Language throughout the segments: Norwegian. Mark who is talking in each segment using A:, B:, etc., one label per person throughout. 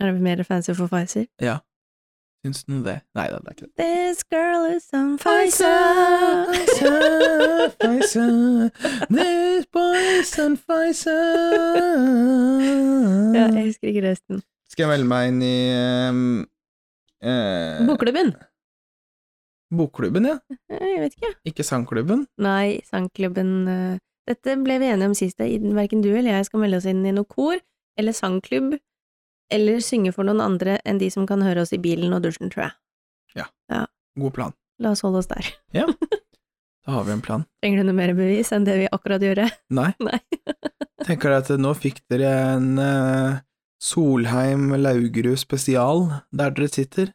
A: Er det mer fancy for Pfizer?
B: Ja. Syns du det? Nei da, det er ikke det.
A: This girl is on Pfizer!
B: Pfizer, Pfizer, this boy's on Pfizer.
A: Ja, jeg husker ikke resten.
B: Skal jeg melde meg inn i ehm, eh,
A: Bokklubben?
B: Bokklubben, ja.
A: Eh, Jeg vet ikke.
B: Ikke sangklubben.
A: Nei, sangklubben eh, Dette ble vi enige om sist. det er ingen- Verken du eller jeg skal melde oss inn i noe kor eller sangklubb eller synge for noen andre enn de som kan høre oss i bilen og dusjen, tror jeg.
B: God plan.
A: La oss holde oss der.
B: Da har vi en plan.
A: Trenger du noe mer bevis enn det vi akkurat gjorde?
B: Nei.
A: Nei.
B: Tenker dere at nå fikk dere en eh, Solheim Laugerud spesial der dere sitter?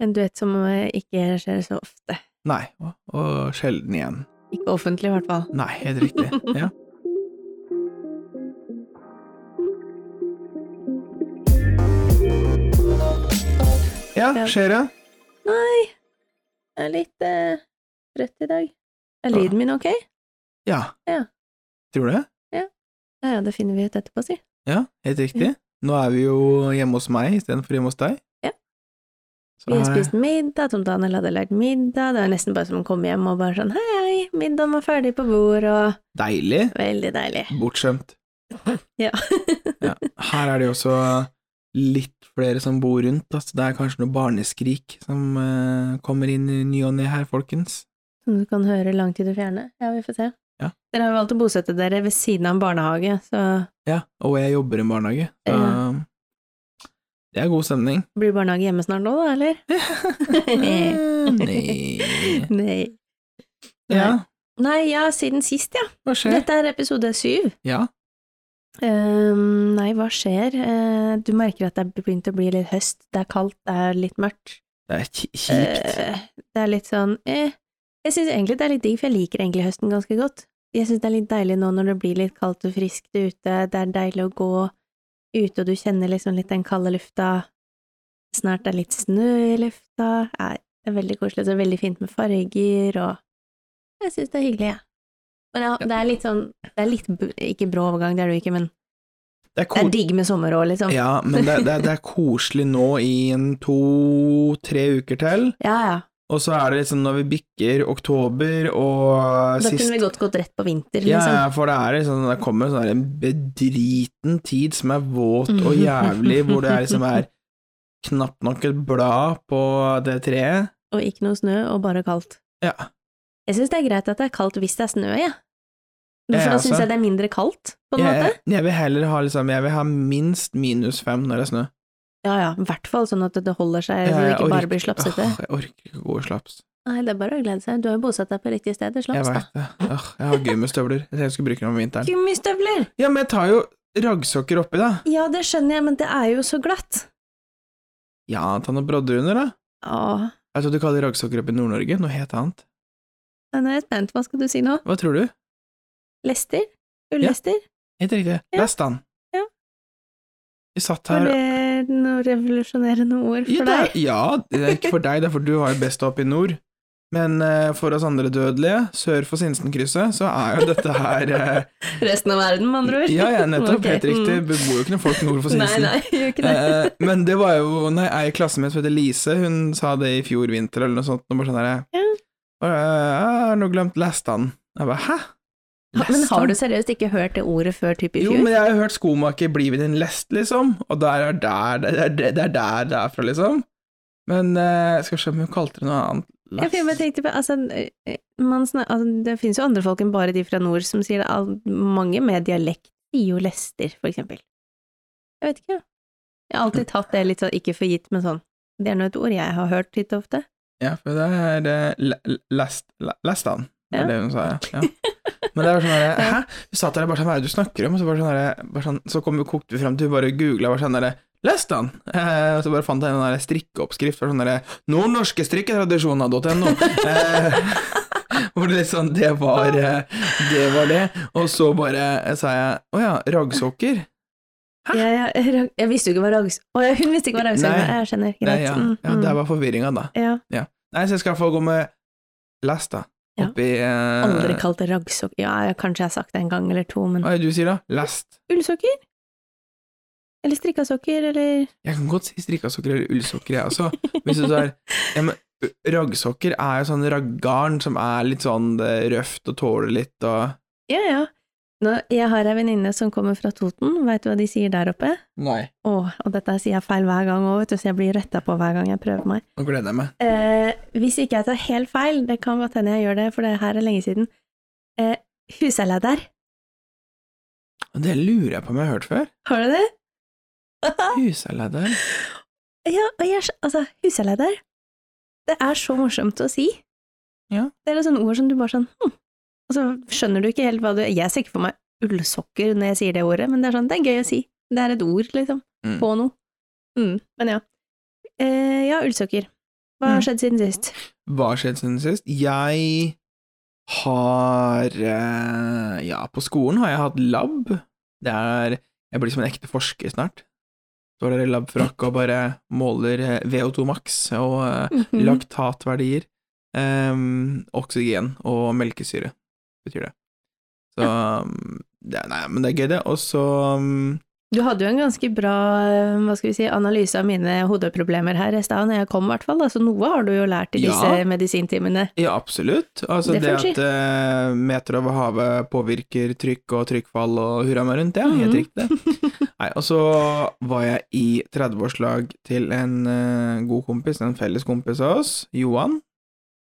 A: En duett som eh, ikke skjer så ofte.
B: Nei, og, og sjelden igjen.
A: Ikke offentlig, i hvert fall.
B: Nei, helt riktig. Ja. Ja,
A: Ja.
B: skjer det?
A: Nei, jeg er litt eh, trøtt i dag. Er lyden min ok?
B: Ja.
A: Ja.
B: Tror du det?
A: Ja, ja, det finner vi ut etterpå, si.
B: Ja, helt riktig. Nå er vi jo hjemme hos meg istedenfor hjemme hos deg.
A: Ja.
B: Så
A: Vi har
B: her-
A: spist middag, Tom Daniel hadde lagd middag, det var nesten bare som å komme hjem og bare sånn hei, hei, middagen var ferdig på bord, og
B: Deilig.
A: veldig deilig.
B: Bortskjemt.
A: Ja.
B: Ja. Her er det jo også litt flere som bor rundt, da, så det er kanskje noe barneskrik som eh, kommer inn i ny og ne her, folkens.
A: Som du kan høre langt i det fjerne. Ja, vi får se.
B: Ja.
A: Dere har jo valgt å bosette dere ved siden av en barnehage, så
B: Ja, og jeg jobber i en barnehage, så det er god stemning.
A: blir barnehage hjemme snart nå, da, eller?
B: Nei.
A: Nei.
B: Ja,
A: Nei, ja, siden sist, ja.
B: hva skjer?
A: Dette er episode syv.
B: Ja,
A: Ehm, nei, hva skjer? Eh, du merker at det er begynt å bli litt høst. Det er kaldt, det er litt mørkt.
B: det er ki- kjipt.
A: Eh, det er litt sånn eh. Jeg syns egentlig det er litt digg, for jeg liker egentlig høsten ganske godt. Jeg syns det er litt deilig nå når det blir litt kaldt og friskt ute. Det er deilig å gå ute, og du kjenner liksom litt den kalde lufta. Snart er litt snø i lufta. Nei, det er veldig koselig. Det er veldig fint med farger, og jeg syns det er hyggelig, jeg. Men ja, det er litt sånn Det er litt b- Ikke brå overgang, det er det jo ikke, men det
B: Det er
A: er
B: koselig.
A: digg med sommer òg, liksom. Ja.
B: Ja, men det er, det, er, det er koselig nå i en to-tre uker til.
A: ja,
B: Og så er det liksom når vi bikker oktober og
A: Da kunne
B: sist
A: vi godt gått rett på vinter,
B: Ja,
A: liksom.
B: ja, for det er liksom, det kommer en sånn der bedriten tid som er våt og jævlig, hvor det er liksom er knapt nok et blad på det treet.
A: Og ikke noe snø, og bare kaldt.
B: Ja.
A: Jeg syns det er greit at det er kaldt hvis det er snø, jeg.
B: Jeg
A: For da
B: også.
A: syns jeg det er mindre kaldt, på en
B: Jeg,
A: måte.
B: jeg vil heller ha liksom, jeg vil ha minst minus fem når det er snø.
A: Ja ja, i hvert fall sånn at det holder seg, så
B: Jeg
A: det ikke
B: orker-
A: bare blir slapsete.
B: Åh, jeg orker ikke gå i slaps.
A: Nei, det er bare å glede seg. Du har jo bosatt deg på riktig sted, det
B: Jeg
A: slaps, da.
B: veit det. Åh, jeg har gummistøvler. Jeg tenkte jeg skulle bruke dem om vinteren.
A: Gummistøvler!
B: Ja, men jeg tar jo raggsokker oppi, da.
A: Ja, det skjønner jeg, men det er jo så glatt.
B: Ja, ta noen brodder under, da.
A: Åh,
B: Jeg tror du kaller raggsokker oppi Nord-Norge noe helt annet.
A: nå er jeg spent. Hva skal du si nå?
B: Hva tror du?
A: Lester? Ullester?
B: Helt riktig.
A: Ja.
B: Lest den.
A: Ja.
B: Vi satt
A: Var
B: her
A: det noe revolusjonerende ord
B: ja,
A: for
B: det er-
A: deg?
B: Ja, det er ikke for deg, det er for du har jo best opp i nord. Men eh, for oss andre dødelige, sør for Sinsenkrysset, så er jo dette her eh,
A: Resten av verden, med andre ord?
B: Ja, ja, nettopp.
A: Ok,
B: Helt riktig.
A: mm.
B: Det bor jo ikke noen folk nord for
A: Nei,
B: Sinsen.
A: nei, gjør ikke det.
B: Eh, men det var jo Nei, ei i klassen min som heter Lise, hun sa det i fjor vinter eller noe sånt. Og bare sånn der,
A: Ja.
B: «Bare, Jeg har nå glemt lestan. Jeg bare hæ?
A: Ha- Men har
B: Lestan?»
A: du seriøst ikke hørt det ordet før typ i
B: Jo,
A: fjor?
B: men jeg har jo hørt skomaker bli ved din lest, liksom, og der er der, det er der, det er der det er fra, liksom. Men eh, skal vi se om hun kalte det noe annet.
A: Ja, for jeg bare tenkte på, altså, eh, man snak- altså, det finnes jo andre folk enn bare de fra nord som sier det. Al- Mange med dialekt sier jo lester, for eksempel. Jeg vet ikke, ja. Jeg har alltid tatt det litt sånn, ikke for gitt, men sånn. Det er nå et ord jeg har hørt titt og ofte.
B: Ja, for det er eh, le- le- lest, le- lestan, det
A: Ja.
B: er det hun sa, ja. ja. Men det er sånn der, hæ? Vi satt der og bare sånn, hva er det du snakker om? Og så bare sånn der, bare sånn, så kom vi, kokte vi frem til, vi bare googlet, bare sånn der, lestan! Eh, og så bare fant jeg en der strikkeoppskrift, bare sånn der, nordnorske strikketradisjoner.no. Eh, hvor det liksom, det var, eh, det var det. Og så bare eh, sa jeg, åja, raggsokker?
A: Jeg, jeg, jeg, jeg visste jo ikke hva rags... Å, ja, hun visste ikke hva ragsøyne
B: Nei.
A: var. Jeg skjønner, greit.
B: Nei, ja,
A: Mm,
B: ja,
A: mm.
B: det var forvirringa da.
A: Ja,
B: Nei, så jeg skal få gå med lesta,
A: Ja.
B: oppi... eh,
A: aldri kalt det ragsokk. Ja, jeg, kanskje jeg har sagt det en gang eller to, men
B: Hva er det du sier da? Lest.
A: ullsokker? Eller strikka sokker, eller
B: Jeg kan godt si strikkasokker eller ullsokker, jeg også. Hvis du tar ja, men, Raggsokker er jo sånn raggarn som er litt sånn eh, røft og tåler litt og
A: Ja, ja. Nå, jeg har ei venninne som kommer fra Toten, veit du hva de sier der oppe?
B: Nei.
A: Å, og dette sier jeg feil hver gang òg, vet du, så jeg blir retta på hver gang jeg prøver meg.
B: Nå gleder jeg meg.
A: Eh, hvis ikke jeg tar helt feil, det kan godt hende jeg gjør det, for det her er lenge siden, eh, huseilæder,
B: Og det lurer jeg på om jeg har hørt før.
A: har du det?
B: Huseilæder.
A: Ja, og jeg, altså, huseilæder, det er så morsomt å si.
B: Ja.
A: Det er et sånt ord som du bare sånn, hm, og så skjønner du ikke helt hva du, jeg ser ikke for meg ullsokker når jeg sier det ordet, men det er sånn, det er gøy å si. Det er et ord, liksom,
B: Mm.
A: på noe. Mm, men ja. Eh, ja, ullsokker. Hva har
B: Mm.
A: skjedd siden sist?
B: Hva har skjedd siden sist? Jeg har eh, Ja, på skolen har jeg hatt lab. Det er Jeg blir som en ekte forsker snart. Står der i labfrakk og bare måler eh, VO2 max og eh,
A: Mhm.
B: laktatverdier, ehm, oksygen og melkesyre, betyr det. Så um, det, Nei, men det er gøy, det. Og så um,
A: Du hadde jo en ganske bra eh, hva skal vi si, analyse av mine hodeproblemer her i stad, når jeg kom i hvert fall, da, så noe har du jo lært i
B: Ja.
A: disse medisintimene.
B: Ja, absolutt. Altså
A: Det
B: det,
A: får jeg
B: at eh, meter over havet påvirker trykk og trykkfall og hurra meg rundt, ja,
A: Mhm.
B: helt riktig. Nei, og så var jeg i 30-årslag til en eh, god kompis, en felles kompis av oss, Johan.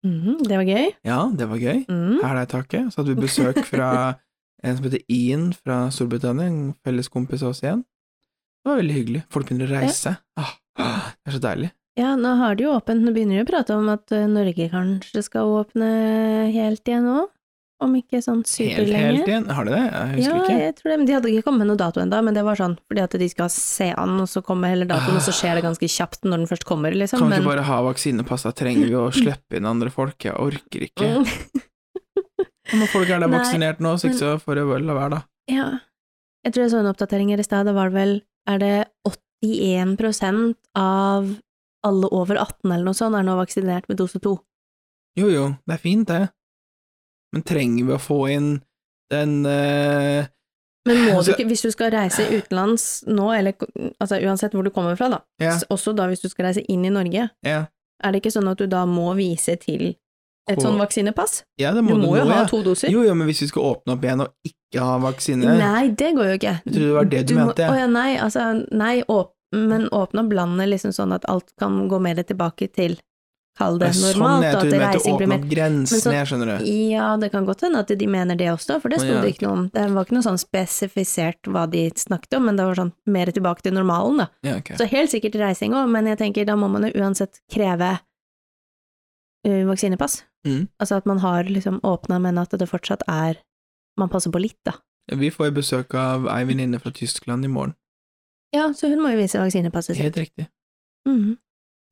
A: Mhm, det var gøy.
B: Ja, det var gøy.
A: Mhm.
B: Her er det taket. Så hadde vi besøk fra en som heter Ian fra Storbritannia, en felles kompis av oss igjen. Det var veldig hyggelig. Folk begynner å reise. Ah, ah, det er så deilig.
A: Ja, nå har de jo åpent, nå begynner de å prate om at eh, Norge kanskje skal åpne helt igjen nå, om ikke sånn
B: Helt, helt
A: superlenge.
B: igjen. Har de det? Jeg husker
A: Ja,
B: ikke.
A: jeg tror det, men de hadde ikke kommet med noen dato ennå, men det var sånn fordi at de skal se an, og så kommer heller datoen, og så skjer det ganske kjapt når den først kommer, liksom.
B: Kan vi
A: men-
B: ikke bare ha vaksinepass? Da trenger vi å slippe inn andre folk. Jeg orker ikke.
A: Mm.
B: Om folk er da
A: Nei,
B: vaksinert nå, så ikke så får det vel å være, da.
A: Ja. Jeg tror jeg så en oppdatering her i stad. Da var det vel Er det 81 av alle over 18 eller noe sånt er nå vaksinert med dose 2?
B: Jo jo, det er fint, det. Men trenger vi å få inn den eh,
A: Men må du
B: Altså-
A: ikke, hvis du skal reise utenlands nå, eller altså uansett hvor du kommer fra, da,
B: Ja.
A: s- også da hvis du skal reise inn i Norge,
B: Ja.
A: er det ikke sånn at du da må vise til et
B: Hvor-
A: sånn vaksinepass?
B: Ja, det
A: Du
B: må
A: må jo
B: nå,
A: ha
B: ja.
A: to doser.
B: Jo jo, men hvis vi skal åpne opp igjen og ikke ha vaksine
A: Nei, det går jo ikke.
B: Jeg trodde det var det du
A: må-
B: mente.
A: Å ja, nei, altså, nei, åp men åpne opp landet liksom sånn at alt kan gå mer tilbake til Kall det
B: Det er
A: normalt,
B: sånn jeg
A: og
B: tror
A: at
B: du mente
A: reising blir
B: åpne
A: mer sånn-
B: opp grensen,
A: Men så-
B: jeg skjønner du.
A: Ja, det kan godt hende at de mener det også, for det
B: Å,
A: sto
B: ja,
A: det ikke noe om. Det var ikke noe sånn spesifisert hva de snakket om, men det var sånn mer tilbake til normalen, da.
B: Ja, ok.
A: Så helt sikkert reising òg, men jeg tenker da må man jo uansett kreve eh, vaksinepass.
B: Mm.
A: Altså at man har liksom åpna, men at det fortsatt er Man passer på litt, da.
B: Vi får jo besøk av ei venninne fra Tyskland i morgen.
A: Ja, så hun må jo vise vaksinepasset sitt.
B: Helt riktig.
A: Mhm.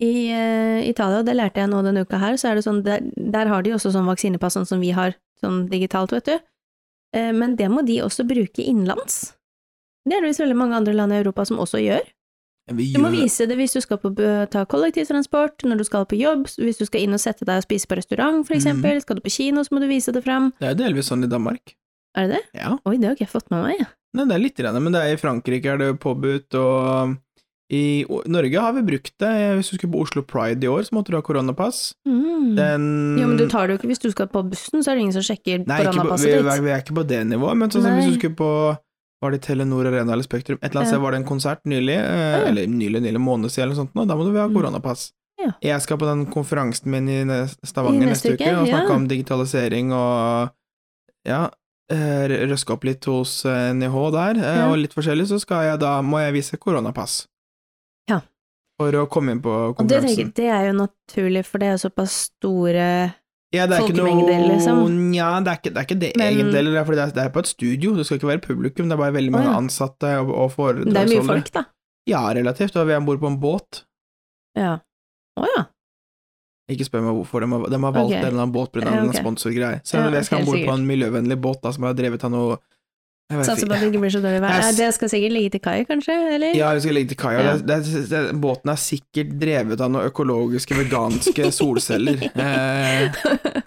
A: I eh, Italia, og det lærte jeg nå denne uka her, så er det sånn, der, der har de også sånn vaksinepass sånn som vi har, sånn digitalt, vet du. Eh, men det må de også bruke innenlands. Det er det visst veldig mange andre land i Europa som også gjør.
B: Vi
A: Du må
B: gjør-
A: vise det hvis du skal på, bø- ta kollektivtransport, når du skal på jobb, s- hvis du skal inn og sette deg og spise på restaurant, for
B: Mhm.
A: eksempel. Skal du på kino, så må du vise det fram.
B: Det er jo delvis sånn i Danmark.
A: Er det det?
B: Ja,
A: Oi, det har ikke jeg fått med meg. jeg.
B: Nei, det er litt, grann, men det er i Frankrike er det jo påbudt, og i o- Norge har vi brukt det. Hvis du skulle på Oslo Pride i år, så måtte du ha koronapass.
A: Mm.
B: Den
A: Jo, men du tar det jo ikke hvis du skal på bussen, så er det ingen som sjekker
B: Nei, ikke på,
A: koronapasset
B: vi,
A: ditt.
B: vi er ikke på det nivået, men sånn som
A: Nei.
B: hvis du skulle på Var det Telenor Arena eller Spektrum? Et eller annet
A: Ja.
B: sted var det en konsert nylig, eh,
A: ja.
B: eller nylig, nylig måned siden eller noe sånt, nå, da må du ha
A: Mm.
B: koronapass.
A: Ja.
B: Jeg skal på den konferansen min i nes- Stavanger
A: I
B: neste,
A: neste
B: uke,
A: uke,
B: og snakke
A: ja.
B: om digitalisering og ja, eh, røske opp litt hos eh, NIH der, eh,
A: Ja.
B: og litt forskjellig, så skal jeg da, må jeg vise koronapass.
A: Ja.
B: For å komme inn på
A: Og det, tenker,
B: konferansen.
A: jeg- det er jo naturlig, for det er jo såpass store
B: Ja, det er ikke noe
A: Folkemengder, liksom.
B: Nja, det er ikke det, er ikke det
A: Men-
B: egentlig, eller det er fordi det er, det er på et studio, det skal ikke være publikum, det er bare veldig mange
A: Å, ja.
B: ansatte og, og
A: Det er mye
B: foredragsholdere.
A: folk, da.
B: Ja, relativt, og vi er om bord på en båt.
A: Ja. Å ja.
B: Ikke spør meg hvorfor, de har, de har valgt
A: Ok.
B: en eller annen båt pga.
A: Ja,
B: en
A: ok.
B: sponsorgreie. Selv om
A: Ja,
B: jeg skal
A: ok,
B: om bord på
A: sikkert.
B: en miljøvennlig båt da, som er drevet av noe Jeg vet
A: Satser
B: ikke.
A: på at det ikke blir så dårlig vær.
B: Jeg
A: Nei,
B: s-
A: Det skal sikkert ligge til kai, kanskje? Eller?
B: Ja, vi skal legge til kaia.
A: Ja.
B: Det- det- det- Båten er sikkert drevet av noen økologiske, veganske solceller. Eh,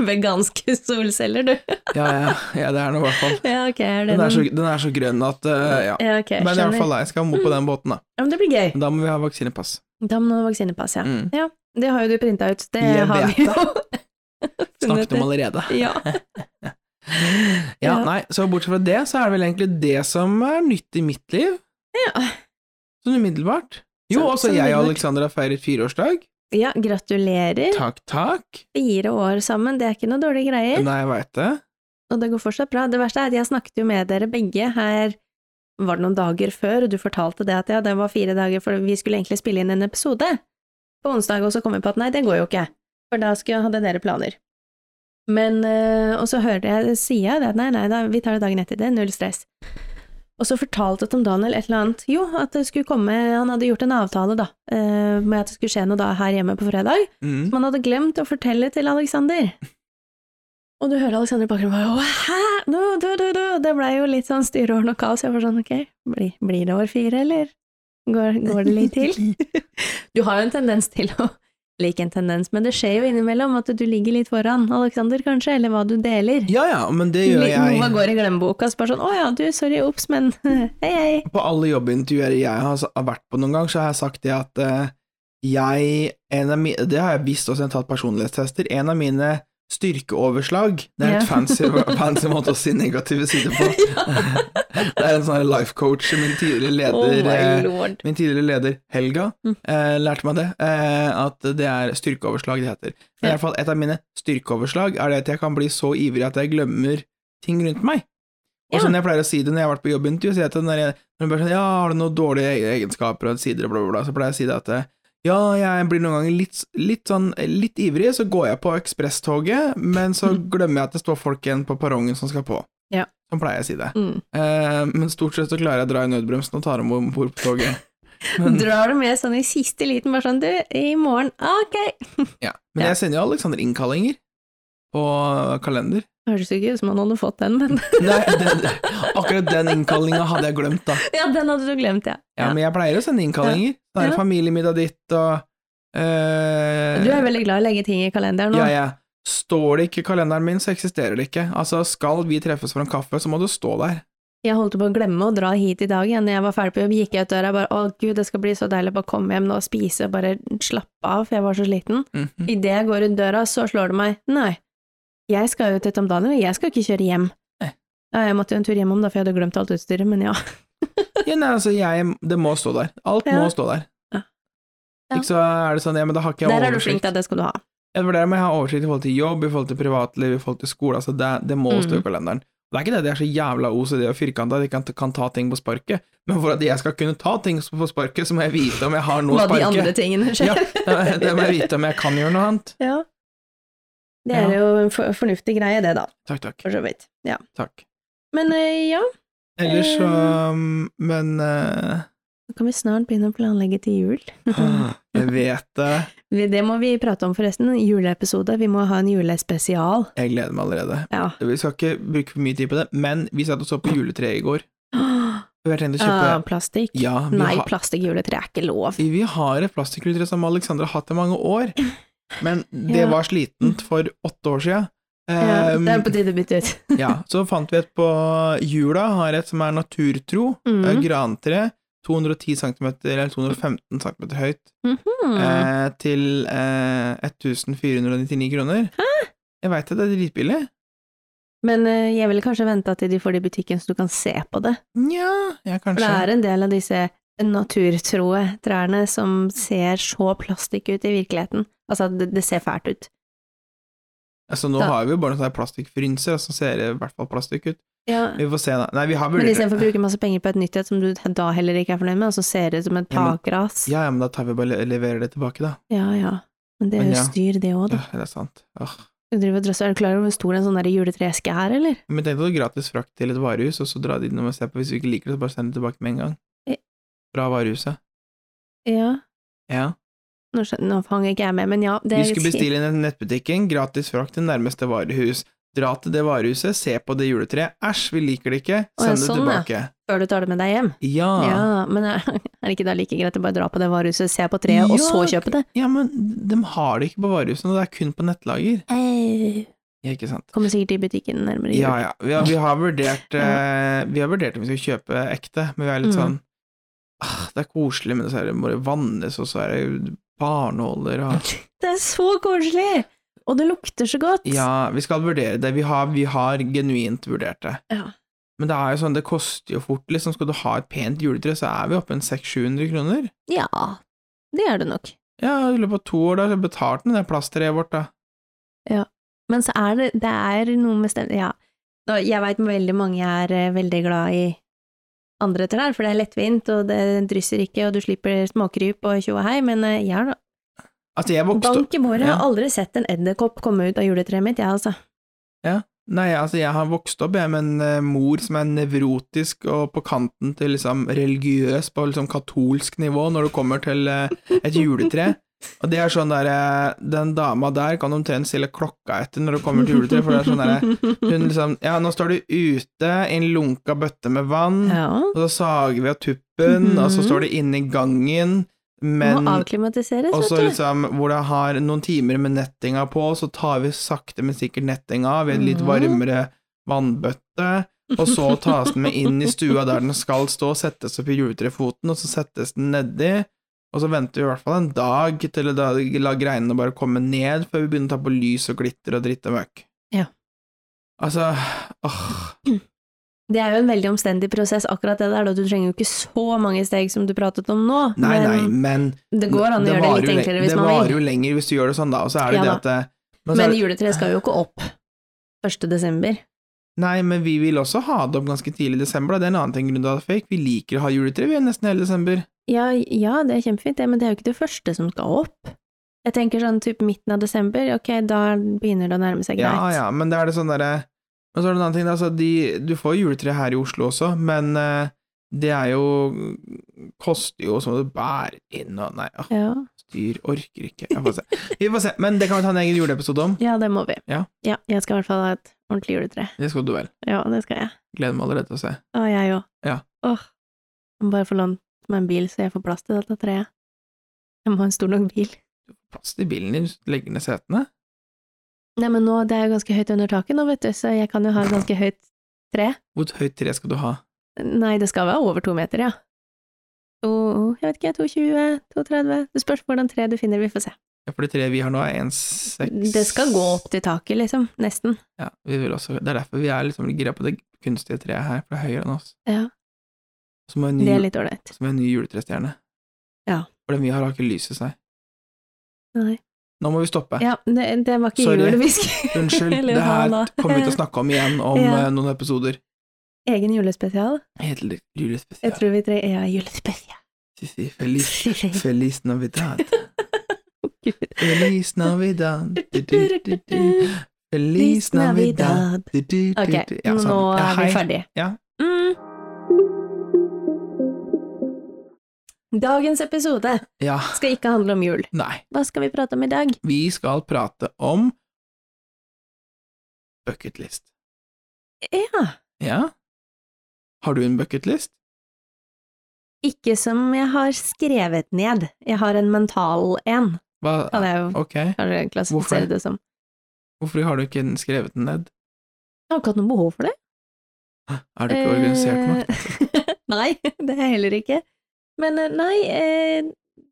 A: Veganske solceller, du.
B: ja, ja, ja, det er noe i hvert fall.
A: Ja, ok, er det
B: Den er så,
A: noen-
B: den er så grønn at eh, Ja.
A: Ja, ok, jeg
B: Men i hvert
A: skjønner.
B: fall jeg skal mot på den båten, da.
A: Ja, men det blir gøy.
B: Men Da må vi ha vaksinepass.
A: Da må du ha vaksinepass, ja.
B: Mm.
A: Det har jo du printa ut. Det
B: Jeg
A: har
B: vet
A: vi jo.
B: Snakket om allerede.
A: Ja.
B: Ja,
A: Ja.
B: nei, så bortsett fra det, så er det vel egentlig det som er nytt i mitt liv.
A: Ja.
B: Sånn umiddelbart. Jo,
A: Sånn-
B: også
A: sånn
B: jeg
A: umiddelbart.
B: og Alexander har feiret fireårsdag.
A: ja, gratulerer.
B: Takk, takk.
A: Fire år sammen, det er ikke noe dårlige greier.
B: Nei, jeg veit det.
A: Og det går fortsatt bra. Det verste er at jeg snakket jo med dere begge her var det noen dager før, og du fortalte det at ja, det var fire dager, for vi skulle egentlig spille inn en episode på onsdag, og så kom vi på at nei, det går jo ikke, for da skulle jeg hadde dere planer. Men, eh, og så hørte jeg, sier jeg det at nei, nei, da, vi tar det dagen etter, det er null stress. Og så fortalte Tom Daniel et eller annet, jo, at det skulle komme, han hadde gjort en avtale da, eh, med at det skulle skje noe da her hjemme på fredag,
B: Mm.
A: som han hadde glemt å fortelle til Alexander. Og du hører Alexander i bakgrunnen bare «Åh, hæ? Du, du, du, du. Det blei jo litt sånn styreorden og kaos. Jeg var sånn ok, blir, blir det år fire, eller går, går det litt til? Du har jo en tendens til å like en tendens, men det skjer jo innimellom at du ligger litt foran Alexander, kanskje, eller hva du deler.
B: Ja ja, men det gjør
A: Litt- Noe
B: jeg.
A: går i glemmeboka, så bare sånn å ja, du, sorry, ops, men hei, hei.
B: På alle jobbintervjuer jeg har s- har vært på noen gang, så har jeg sagt det at eh, jeg en av mi, Det har jeg visst også, jeg har tatt personlighetstester. En av mine styrkeoverslag Det er
A: Ja.
B: et fancy, fancy måte å si negative sider på. det er en sånn her life coach, min tidligere
A: oh
B: leder eh,
A: my lord.
B: Min tidligere leder Helga
A: Mm.
B: eh, lærte meg det, eh, at det er styrkeoverslag det heter. Men
A: Ja.
B: i hvert fall Et av mine styrkeoverslag er det at jeg kan bli så ivrig at jeg glemmer ting rundt meg. Og
A: Ja.
B: sånn jeg pleier å si det når jeg har vært på jobbintervju, sier jeg til når jeg, når jeg bare sånn, ja, har du noen dårlige e- egenskaper og sider og bla, bla, bla, så pleier jeg å si det at eh, ja, jeg blir noen ganger litt, litt sånn litt ivrig, så går jeg på ekspresstoget, men så glemmer jeg at det står folk igjen på perrongen som skal på.
A: Mm. Ja.
B: Sånn pleier jeg å si det.
A: Mm.
B: Eh, men stort sett så klarer jeg å dra i nødbremsen og tar om bord på toget. Men-
A: Drar du med sånn i siste liten, bare sånn du, i morgen, ok.
B: Ja, men
A: Ja.
B: jeg sender jo Alexander innkallinger på kalender.
A: Høres jo ikke ut som han hadde fått den, men
B: Nei, den, akkurat den innkallinga hadde jeg glemt, da.
A: ja, den hadde du glemt, ja.
B: Ja, Men jeg pleier å sende innkallinger. Da er det
A: Ja.
B: familiemiddag ditt og eh,
A: Du er veldig glad i å legge ting i kalenderen nå.
B: Ja, ja. Står det ikke i kalenderen min, så eksisterer det ikke. Altså, skal vi treffes for en kaffe, så må du stå der.
A: Jeg holdt på å glemme å dra hit i dag igjen. Når jeg var ferdig på jobb, gikk jeg ut døra og bare å gud, det skal bli så deilig å bare komme hjem nå og spise og bare slappe av, for jeg var så sliten.
B: Mhm.
A: Idet jeg går ut døra, så slår det meg nei, jeg skal jo til Tom Daniel, jeg skal ikke kjøre hjem.
B: Nei.
A: Ja, jeg måtte jo en tur hjem om da, for jeg hadde glemt alt utstyret, men ja.
B: Ja, nei, altså, jeg, det må stå der. Alt må
A: Ja.
B: stå der.
A: Ja.
B: Ikke så er det sånn, ja, men da har ikke jeg
A: Der er du
B: oversikt.
A: flink, da, det skal du ha.
B: Ja, det var det med å ha oversikt i forhold til jobb, i forhold til privatliv, i forhold til skole. Altså det, det må stå i
A: Mm.
B: kalenderen. Det er ikke det at jeg er så jævla OCD og firkanta at jeg kan, kan ta ting på sparket, men for at jeg skal kunne ta ting på sparket, så må jeg vite om jeg har noe å
A: Hva de andre
B: sparke.
A: tingene
B: Ja,
A: skjer.
B: det må jeg vite om jeg kan gjøre noe annet.
A: Ja. Det er
B: Ja.
A: jo en for fornuftig greie, det, da,
B: Takk, takk.
A: for så vidt. Ja.
B: takk.
A: Men eh, ja,
B: Ellers så um, Men eh,
A: nå kan vi snart begynne å planlegge til jul.
B: Jeg vet det.
A: Vi- Det må vi prate om, forresten. en Juleepisode. Vi må ha en julespesial.
B: Jeg gleder meg allerede.
A: Ja.
B: Vi skal ikke bruke for mye tid på det, men vi satt og så på juletreet i går.
A: Ah,
B: Vi har tenkt å kjøpe
A: plastikk.
B: Ja, vi
A: Nei,
B: har-
A: plastikkjuletre er ikke lov.
B: Vi har et plastikkkultur som Alexandra har hatt i mange år, men det
A: Ja.
B: var slitent for åtte år siden.
A: Ja, det er på
B: Ehm,
A: tide å bytte ut.
B: ja, så fant vi et på jula, har et som er naturtro,
A: Mm.
B: eh, grantre, 210 cm, eller 215 cm høyt,
A: Mhm.
B: eh, til eh, 1499 kroner. Jeg veit det, det er dritbillig.
A: Men eh, jeg ville kanskje venta til de får det i butikken, så du kan se på det.
B: Nja, ja,
A: For det
B: kanskje.
A: er en del av disse naturtroe trærne som ser så plastikk ut i virkeligheten. Altså, det, det ser fælt ut.
B: Altså, nå
A: Da-
B: har vi jo bare noen sånne plastikkfrynser altså, som ser i hvert fall plastikk ut.
A: Ja.
B: Vi får se, da. Nei, vi har
A: Men
B: vurdert
A: istedenfor å bruke masse penger på et nytt et som du da heller ikke er fornøyd med, og så ser det ut som et
B: Ja, men-
A: pakras.
B: Ja, ja, men da tar vi bare og leverer det tilbake, da.
A: Ja, ja. Men det er
B: Men
A: jo
B: ja.
A: styr, det òg, da.
B: Ja, det er sant. Åh.
A: Du driver og drøsser. Er du klar over hvor stor en sånn der juletreeske er, eller?
B: Men tenk deg gratis frakt til et varehus, og så dra dit og se på. Hvis du ikke liker det, så bare send det tilbake med en gang.
A: Ja.
B: Fra varehuset.
A: Ja.
B: Ja.
A: Nå, skjøn- nå fanger ikke jeg med, men ja. Det
B: Vi
A: er
B: skulle bestille inn i nettbutikken, gratis frakt til nærmeste varehus. Dra til det varehuset, se på det juletreet. Æsj, vi liker det ikke.
A: Å, ja,
B: Send det
A: sånn, ja.
B: tilbake.
A: Før du tar det med deg hjem.
B: Ja. ja.
A: Ja, men er er det ikke da like greit å bare dra på det varehuset, se på treet, og
B: Ja.
A: så kjøpe det?
B: men de har det ikke på varehusene, det er kun på nettlager.
A: Eh,
B: Ja, ikke sant.
A: Kommer sikkert i butikken nærmere jul.
B: Ja, ja. Vi har, vi har vurdert eh, Vi har vurdert om vi skal kjøpe ekte, men vi er litt
A: Mm.
B: sånn ah, Det er koselig, men så er det bare vannes, og så er det barnåler og
A: Det er så koselig! Og det lukter så godt.
B: Ja, vi skal vurdere det. Vi har, vi har genuint vurdert det.
A: Ja.
B: Men det er jo sånn, det koster jo fort, liksom. Skal du ha et pent juletre, så er vi oppe en 600-700 kroner.
A: Ja, det er det nok.
B: Ja, i løpet av to år, da, så betalte den det plasttreet vårt, da.
A: Men så er det, det er noe med stemning Ja. Nå, jeg veit veldig mange er eh, veldig glad i andre trær, for det er lettvint, og det drysser ikke, og du slipper småkryp og tjo og hei, men eh, jeg har da
B: Altså, jeg vokste opp
A: Bank i bordet, jeg
B: Ja.
A: har aldri sett en edderkopp komme ut av juletreet mitt, jeg, altså.
B: Nei, altså, jeg har vokst opp jeg, med en eh, mor som er nevrotisk og på kanten til liksom religiøs, på liksom katolsk nivå, når det kommer til eh, et juletre. Og det er sånn derre Den dama der kan omtrent stille klokka etter når det kommer til juletre, for det er sånn derre Hun liksom Ja, nå står du ute i en lunka bøtte med vann,
A: ja.
B: og så sager vi av tuppen, og så
A: Mhm.
B: står du inne i gangen, men
A: Må avklimatiseres,
B: Og så
A: vet du.
B: liksom, hvor det har noen timer med nettinga på, så tar vi sakte, men sikkert nettinga av i en litt
A: Mhm.
B: varmere vannbøtte, og så tas den med inn i stua der den skal stå, settes opp i juletrefoten, og så settes den nedi, og så venter vi i hvert fall en dag til da la greinene bare komme ned, før vi begynner å ta på lys og glitter og dritt og møkk.
A: Ja.
B: Altså, åh.
A: Det er jo en veldig omstendig prosess, akkurat det der. da. Du trenger jo ikke så mange steg som du pratet om nå.
B: Nei,
A: men
B: nei, men
A: Det går an å gjøre det
B: varer
A: litt
B: jo leng-
A: enklere hvis
B: det
A: man
B: varer
A: vil.
B: jo altså- lenger hvis du gjør det sånn, da, og så er det
A: Ja
B: det
A: da.
B: at det, men så er
A: Men
B: det-
A: juletreet skal jo ikke opp 1. desember.
B: Nei, men vi vil også ha det opp ganske tidlig i desember. Da. Det er en annen ting grunn til at det er fake. Vi liker å ha juletre vi er nesten hele desember.
A: Ja, ja, det er kjempefint, det, men det er jo ikke det første som skal opp. Jeg tenker sånn typ midten av desember, ok, da begynner det å nærme seg
B: Ja,
A: greit.
B: ja, men det er det sånn derre Men så er det en annen ting, da. Altså, de, du får juletre her i Oslo også, men eh, det er jo Koster jo som du bærer inn og Nei, åh,
A: ja.
B: dyr orker ikke. Jeg får se. Vi får se. Men det kan vi ta en egen juleepisode om.
A: Ja, det må vi.
B: Ja.
A: jeg skal i hvert fall ha et ordentlig juletre.
B: Det skal du vel.
A: Ja, det skal jeg.
B: Gleder meg allerede til å se.
A: Å, jeg òg.
B: Ja.
A: Åh. Jeg må bare få lånt meg en bil, så jeg får plass til dette treet. Jeg må ha en stor nok bil.
B: Plass til bilen din, hvis du legger ned setene.
A: Nei, men nå, det er jo ganske høyt under taket nå, vet du, så jeg kan jo ha et ganske høyt tre.
B: Hvor høyt tre skal du ha?
A: Nei, det skal være over to meter, ja. To, jeg vet ikke, 220, 230, det spørs hvordan tre du finner, vi får se.
B: Ja, For det treet vi har nå, er 1,6
A: Det skal gå opp til taket, liksom, nesten.
B: Ja, vi vil også, det er derfor vi er liksom gira på det kunstige treet her, for det er høyere enn oss.
A: Ja,
B: Så må vi ha en ny,
A: det er litt ålreit.
B: så må vi ha en ny juletrestjerne.
A: Ja.
B: For den vi har, har ikke lys i seg.
A: Nei.
B: Nå må vi stoppe.
A: Ja, det, det var ikke
B: Sorry.
A: jul vi skulle
B: Unnskyld,
A: eller
B: det
A: hva
B: her
A: da?
B: kommer vi til å snakke om igjen om
A: Ja.
B: eh, noen episoder.
A: Egen julespesial.
B: Helt litt
A: Jeg
B: julespesial.
A: tror vi trenger ja, julespesial.
B: Si, si, Feliz, feliz Navidad.
A: Gud.
B: Feliz Navidad. Du, du, du, du. Feliz Navidad. Du, du, du,
A: Ok,
B: du. Ja, sånn.
A: nå
B: Ja,
A: er vi
B: hei.
A: ferdige.
B: Ja.
A: Mm. Dagens episode
B: Ja,
A: skal ikke handle om jul.
B: nei.
A: Hva skal vi prate om i dag?
B: Vi skal prate om bucketlist.
A: Ja,
B: Ja? Har du en bucketlist?
A: ikke som jeg har skrevet ned. Jeg har en mental en,
B: Hva
A: kan jeg jo
B: Ok,
A: kanskje klassifisere
B: Hvorfor?
A: det som.
B: hvorfor har du ikke skrevet den ned?
A: Jeg har ikke hatt noe behov for det.
B: Er du ikke organisert nok?
A: Eh, nei, det er jeg heller ikke. Men eh, nei, eh,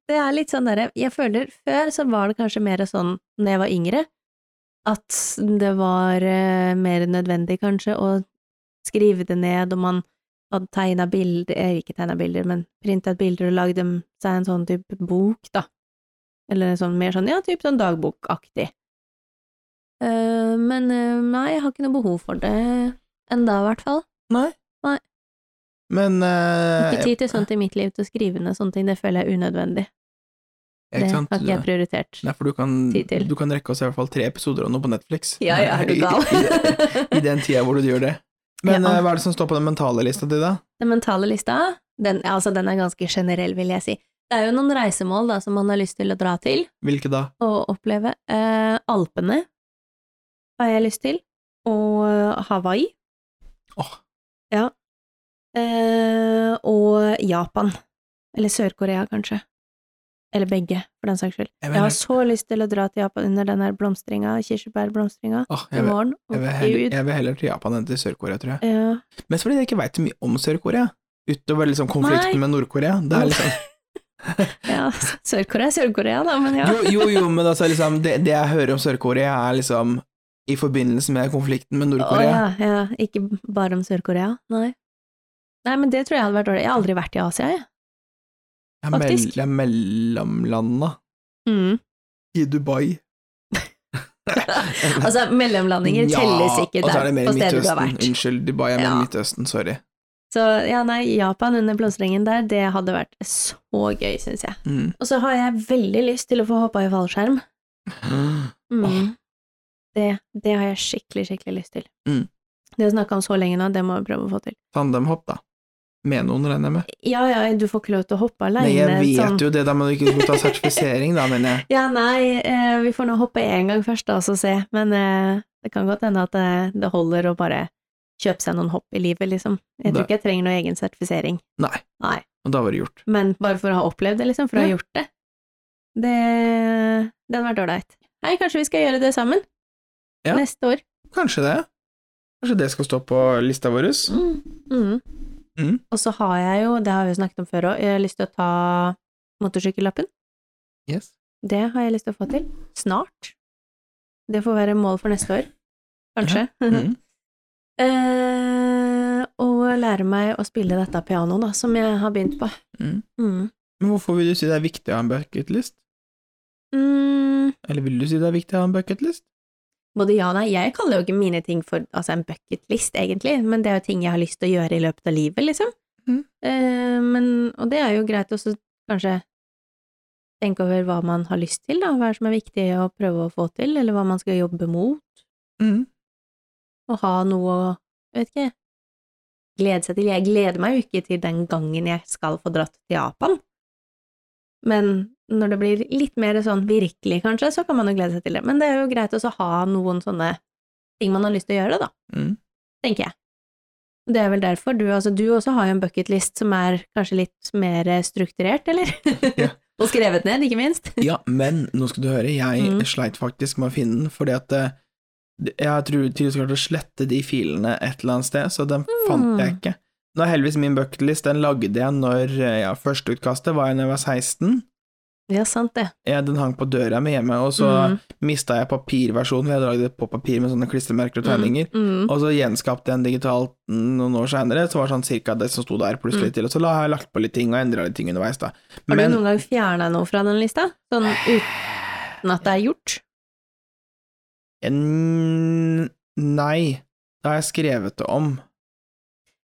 A: det er litt sånn derre Jeg føler før så var det kanskje mer sånn når jeg var yngre, at det var eh, mer nødvendig kanskje å skrive det ned, og man hadde tegna bilder eh, Ikke tegna bilder, men printa ut bilder og lagd dem seg en sånn type bok, da. Eller en sånn mer sånn ja, typ sånn dagbokaktig. Eh, men eh, nei, jeg har ikke noe behov for det enda, i hvert fall.
B: Nei.
A: Nei.
B: Men eh,
A: Ikke tid til sånt i mitt liv, til å skrive ned sånne ting. Det føler jeg er unødvendig.
B: ikke
A: Det har
B: sant?
A: ikke jeg prioritert.
B: Nei, for du kan,
A: Tid til.
B: du kan rekke oss i hvert fall tre episoder av noe på Netflix.
A: Ja, ja, er du gal?
B: I, i, I den tida hvor du gjør det. Men
A: Ja.
B: eh, hva er det som står på den mentale lista di, da?
A: Den mentale lista, den, altså, den er ganske generell, vil jeg si. Det er jo noen reisemål da, som man har lyst til å dra til
B: Hvilke da?
A: og oppleve. Eh, Alpene har jeg lyst til. og Hawaii.
B: Åh.
A: Ja. Eh, og Japan. Eller Sør-Korea, kanskje. Eller begge, for den saks skyld.
B: Jeg
A: Jeg har
B: mener,
A: så lyst til å dra til Japan under den her blomstringa, kirsebærblomstringa,
B: åh,
A: i
B: jeg, vil,
A: morgen. Og
B: jeg, vil heller,
A: Gud.
B: jeg vil heller til Japan enn til Sør-Korea, tror jeg.
A: Ja.
B: Mest fordi jeg ikke veit så mye om Sør-Korea. Utover liksom konflikten
A: Nei.
B: med Nord-Korea. Det er liksom
A: ja. Sør-Korea, er Sør-Korea, da, men ja.
B: Jo, jo, jo, men altså, liksom, det, det jeg hører om Sør-Korea, er liksom i forbindelse med konflikten med
A: Å
B: Nord-Korea.
A: ja, ja. Ikke bare om Sør-Korea, nei. Nei, men det tror jeg hadde vært dårlig. Jeg har aldri vært i Asia, jeg.
B: Det er mell-
A: faktisk.
B: Det er mellomlanda
A: Mm.
B: i Dubai.
A: Altså, mellomlandinger telles ikke
B: og så er
A: der,
B: det mer i
A: på steder du har
B: Midtøsten.
A: vært.
B: Unnskyld, Dubai er mer
A: Ja.
B: Midtøsten, sorry.
A: Så ja, nei, Japan under blomstringen der, det hadde vært så gøy, syns jeg.
B: Mm.
A: Og så har jeg veldig lyst til å få hoppa i fallskjerm. Mm.
B: Åh.
A: Det, det har jeg skikkelig, skikkelig lyst til.
B: Mm.
A: Det å snakke om så lenge nå, det må vi prøve å få til.
B: Tandemhopp, da. Med noen, regner jeg med.
A: Ja, ja, du får ikke lov til å hoppe
B: Men
A: aleine.
B: jeg vet jo det, da må du ikke ta sertifisering, da, mener jeg.
A: Ja, nei, eh, vi får nå hoppe én gang først, da, og så se. Men eh, det kan godt hende at det, det holder å bare kjøpe seg noen hopp i livet, liksom. Jeg tror
B: Det-
A: ikke jeg trenger noe egen sertifisering.
B: Nei.
A: Nei.
B: Og da var det gjort.
A: Men bare for å ha opplevd det, liksom, for å ha
B: Ja.
A: gjort det. Det, det hadde vært ålreit. Nei, kanskje vi skal gjøre det sammen?
B: Ja.
A: Neste år.
B: Kanskje det. Kanskje det skal stå på lista vår.
A: Mm.
B: Mm.
A: Og så har jeg jo, det har vi jo snakket om før òg, jeg har lyst til å ta motorsykkellappen.
B: Yes.
A: Det har jeg lyst til å få til. Snart. Det får være mål for neste år. Kanskje.
B: Mm.
A: eh, og lære meg å spille dette pianoet, da, som jeg har begynt på.
B: Mm.
A: Mm.
B: Men hvorfor vil du si det er viktig å ha en bucketlist?
A: Mm.
B: Eller vil du si det er viktig å ha en bucketlist?
A: Både ja og nei. Jeg kaller jo ikke mine ting for altså en bucketlist, egentlig, men det er jo ting jeg har lyst til å gjøre i løpet av livet, liksom.
B: Mhm.
A: Eh, men, og det er jo greit også kanskje tenke over hva man har lyst til, da, hva som er viktig å prøve å få til, eller hva man skal jobbe mot,
B: Mm.
A: og ha noe å, jeg vet ikke, glede seg til. Jeg gleder meg jo ikke til den gangen jeg skal få dratt til Japan, men når det blir litt mer sånn virkelig, kanskje, så kan man jo glede seg til det. Men det er jo greit også å ha noen sånne ting man har lyst til å gjøre, da,
B: Mm.
A: tenker jeg. Og Det er vel derfor du, altså, du også har jo en bucketlist som er kanskje litt mer eh, strukturert, eller?
B: Ja.
A: og skrevet ned, ikke minst.
B: Ja, men nå skal du høre, jeg
A: Mm.
B: sleit faktisk med å finne den, fordi at eh, jeg tror tydeligvis klarte å slette de filene et eller annet sted, så den fant jeg
A: Mm.
B: ikke. Nå er heldigvis min bucketlist, den lagde jeg når eh, ja, førsteutkastet var jeg da jeg var 16.
A: Ja, sant det.
B: Jeg, den hang på døra mi hjemme, og så
A: Mm.
B: mista jeg papirversjonen, for jeg hadde lagd det på papir med sånne klistremerker og tegninger.
A: Mm.
B: Og så gjenskapte jeg den digitalt noen år seinere, så var det sånn cirka det som sto der, pluss litt til. Og så la jeg lagt på litt ting og endra litt ting underveis, da.
A: Mm. Har du
B: Men
A: noen gang fjerna noe fra den lista? Sånn uten at det er gjort?
B: en, Nei, da har jeg skrevet det om.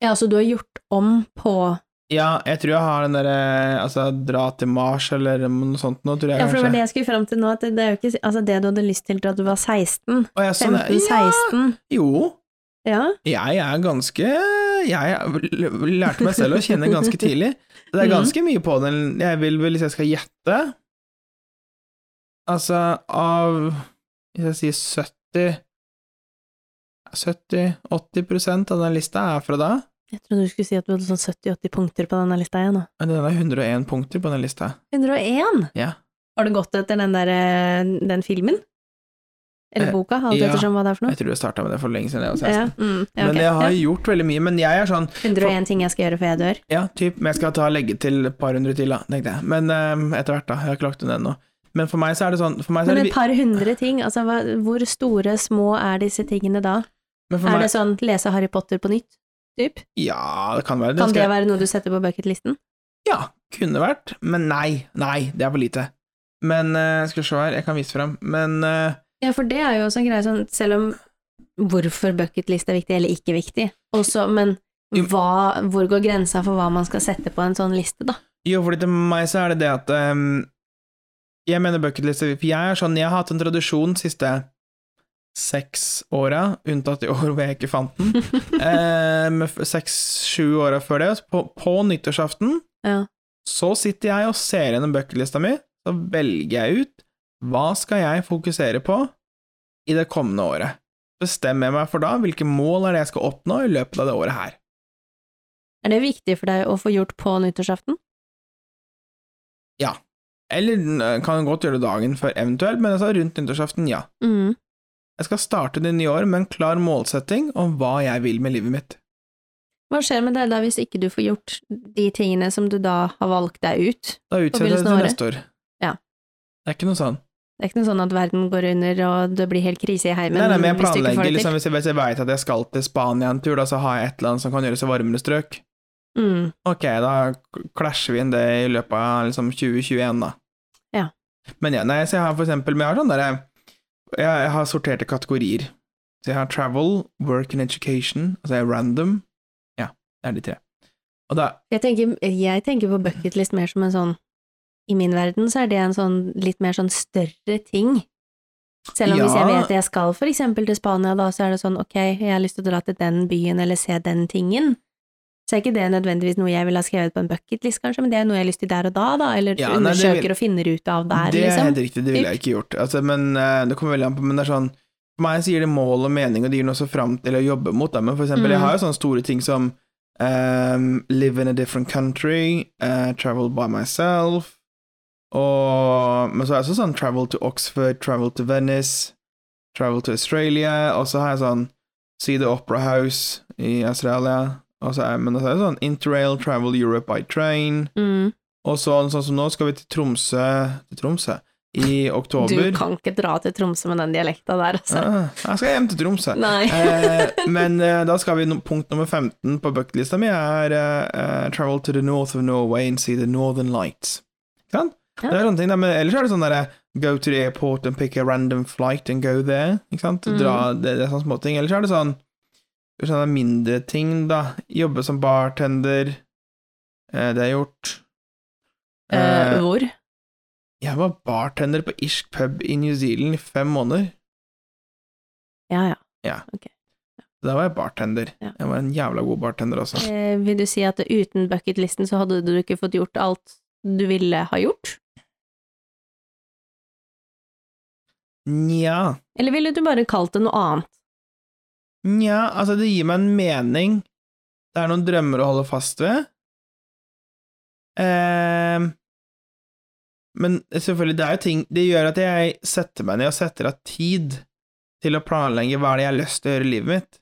A: Ja, altså du har gjort om på
B: Ja, jeg tror jeg har den derre altså dra til Mars eller noe sånt nå, tror jeg
A: Ja, for det var
B: kanskje.
A: det jeg skulle fram til nå, at det, det er jo ikke Altså det du hadde lyst til da du var 16,
B: Å, jeg, sånn, ja,
A: 15-16
B: jo,
A: Ja.
B: jeg er ganske Jeg l- lærte meg selv å kjenne ganske tidlig. Det er
A: Mm.
B: ganske mye på den. Jeg vil vel, hvis jeg skal gjette Altså, av Hvis jeg sier 70 70-80 av den lista er fra da.
A: Jeg trodde du skulle si at du hadde sånn 70-80 punkter på denne lista igjen nå.
B: Men Den er 101 punkter på den lista.
A: 101!
B: Ja.
A: Har du gått etter den der eh, den filmen? Eller
B: Eh,
A: boka, alt
B: ja.
A: ettersom hva det er for noe?
B: Jeg tror jeg starta med det for lenge siden jeg var 16.
A: Ja, mm, ja, ok.
B: Men jeg har gjort veldig mye. Men jeg er sånn
A: ja. 101 ting jeg skal gjøre før jeg dør.
B: Ja, typ, men jeg skal ta legge til et par hundre til, da, tenkte jeg. Men eh, etter hvert, da. Jeg har ikke lagt den ennå. Men for meg så er det sånn for meg så
A: Men
B: er det,
A: et
B: vi-
A: par hundre ting, altså hva, hvor store, små er disse tingene da?
B: men for
A: Er
B: meg,
A: det sånn lese Harry Potter på nytt? Typ?
B: Ja, det kan være det.
A: Kan
B: skal
A: det
B: jeg-
A: være noe du setter på bucketlisten?
B: Ja, kunne vært. Men nei. Nei, det er for lite. Men eh, skal vi se her, jeg kan vise fram. Men eh,
A: Ja, for det er jo også en greie sånn, selv om hvorfor bucketlist er viktig eller ikke viktig, også, men
B: Jo.
A: hva, hvor går grensa for hva man skal sette på en sånn liste, da?
B: jo, fordi til meg så er det det at eh, Jeg mener bucketliste, for jeg er sånn Jeg har hatt en tradisjon siste seks åra, unntatt i år hvor jeg ikke fant den, eh, med f- seks-sju åra før det, så på, på nyttårsaften
A: Ja.
B: Så sitter jeg og ser gjennom bucketlista mi, så velger jeg ut hva skal jeg fokusere på i det kommende året. bestemmer jeg meg for da hvilke mål er det jeg skal oppnå i løpet av det året her.
A: Er det viktig for deg å få gjort på nyttårsaften?
B: Eller eh, kan godt gjøre det dagen før eventuelt, men altså rundt nyttårsaften, ja.
A: Mm.
B: Jeg skal starte det nye året med en klar målsetting om hva jeg vil med livet mitt.
A: Hva skjer med deg da hvis ikke du får gjort de tingene som du da har valgt deg ut?
B: Da utsetter jeg det
A: begynnelsen av
B: til
A: året?
B: neste år.
A: Ja.
B: Det er ikke noe sånn.
A: Det er ikke noe sånn at verden går under og det blir helt krise i heimen
B: nei, nei, men jeg
A: hvis du ikke får
B: planlegger
A: det
B: liksom,
A: til.
B: hvis jeg, hvis jeg veit at jeg skal til Spania en tur, da, så har jeg et eller annet som kan gjøres i varmere strøk.
A: Mm.
B: Ok, da k- klasjer vi inn det i løpet av liksom 2021, da.
A: Ja.
B: Men ja, nei, så jeg har for eksempel men jeg har sånn derre jeg, jeg har sorterte kategorier. Så jeg har travel, work and education, og så er jeg random. Ja, det er de tre. Og da
A: Jeg tenker, jeg tenker på bucketlist mer som en sånn I min verden så er det en sånn litt mer sånn større ting. Selv om hvis jeg
B: Ja.
A: vet jeg skal for eksempel til Spania, da så er det sånn ok, jeg har lyst til å dra til den byen eller se den tingen. Så er ikke det nødvendigvis noe jeg ville ha skrevet på en bucketlist, kanskje, men det er noe jeg har lyst til der og da, da, eller
B: Ja, nei, det vil-
A: undersøker og finner ut av der,
B: Det er
A: liksom.
B: helt riktig, det ville jeg ikke gjort. Altså, men eh, det kommer veldig an på, men det er sånn For meg så gir det mål og mening, og det gir noe så fram til å jobbe mot. Da. Men for eksempel,
A: Mm.
B: jeg har jo sånne store ting som ehm, live in a different country, eh, travel by myself og, Men så er det også sånn travel to Oxford, travel to Venice, travel to Australia, og så har jeg sånn See the Opera House i Australia, og så er, men så er det sånn interrail, travel Europe by train
A: Mm.
B: og sånn, sånn som nå skal vi til Tromsø Til Tromsø? I
A: Du
B: oktober.
A: kan ikke dra til Tromsø med den dialekta der, altså.
B: Ah, jeg skal hjem til Tromsø.
A: Nei.
B: eh, men eh, da skal vi no punkt nummer 15 på bucketlista mi er eh, eh, Travel to the north of Norway and see the northern lights. Ikke sant?
A: Ja.
B: Det er sånne ting, da, men ellers er det sånn derre Go to the airport and pick a random flight and go there. Ikke sant?
A: Mm.
B: Dra, det, det er sånne småting. Ellers er det sånn sånne mindre ting, da. Jobbe som bartender. Eh, det er gjort.
A: Eh, hvor?
B: Jeg var bartender på irsk pub i New Zealand i fem måneder.
A: Ja, ja.
B: Da var jeg bartender.
A: Ja.
B: Jeg var en jævla god bartender altså. også.
A: Eh, vil du si at uten bucketlisten så hadde du ikke fått gjort alt du ville ha gjort?
B: Nja,
A: Eller ville du bare kalt det noe annet?
B: nja, altså det gir meg en mening. Det er noen drømmer å holde fast ved. Ehm, men selvfølgelig, det er jo ting Det gjør at jeg setter meg ned og setter av tid til å planlegge hva det er jeg har lyst til å gjøre i livet mitt.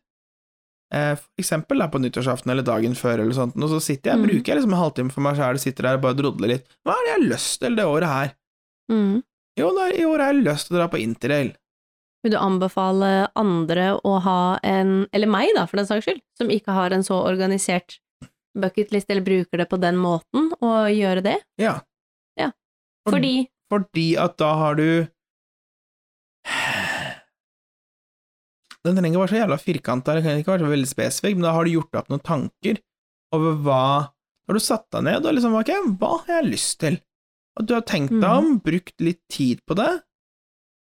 B: Eh, for eksempel da, på nyttårsaften eller dagen før, eller sånt, og så sitter jeg,
A: Mm.
B: bruker jeg liksom en halvtime for meg sjæl, sitter der og bare drodler litt. Hva er det jeg har lyst til det året her?
A: Mm.
B: Jo, da, i år har jeg lyst til å dra på interrail.
A: Vil du anbefale andre å ha en, eller meg da, for den saks skyld, som ikke har en så organisert bucketlist eller bruker det på den måten, å gjøre det?
B: Ja.
A: Ja.
B: For-
A: Fordi
B: Fordi at da har du Den trenger ikke være så jævla firkanta, den trenger ikke være så veldig spesifikk, men da har du gjort deg opp noen tanker over hva Har du satt deg ned og liksom Ok, hva har jeg lyst til? Og du har tenkt deg
A: Mm.
B: om, brukt litt tid på det,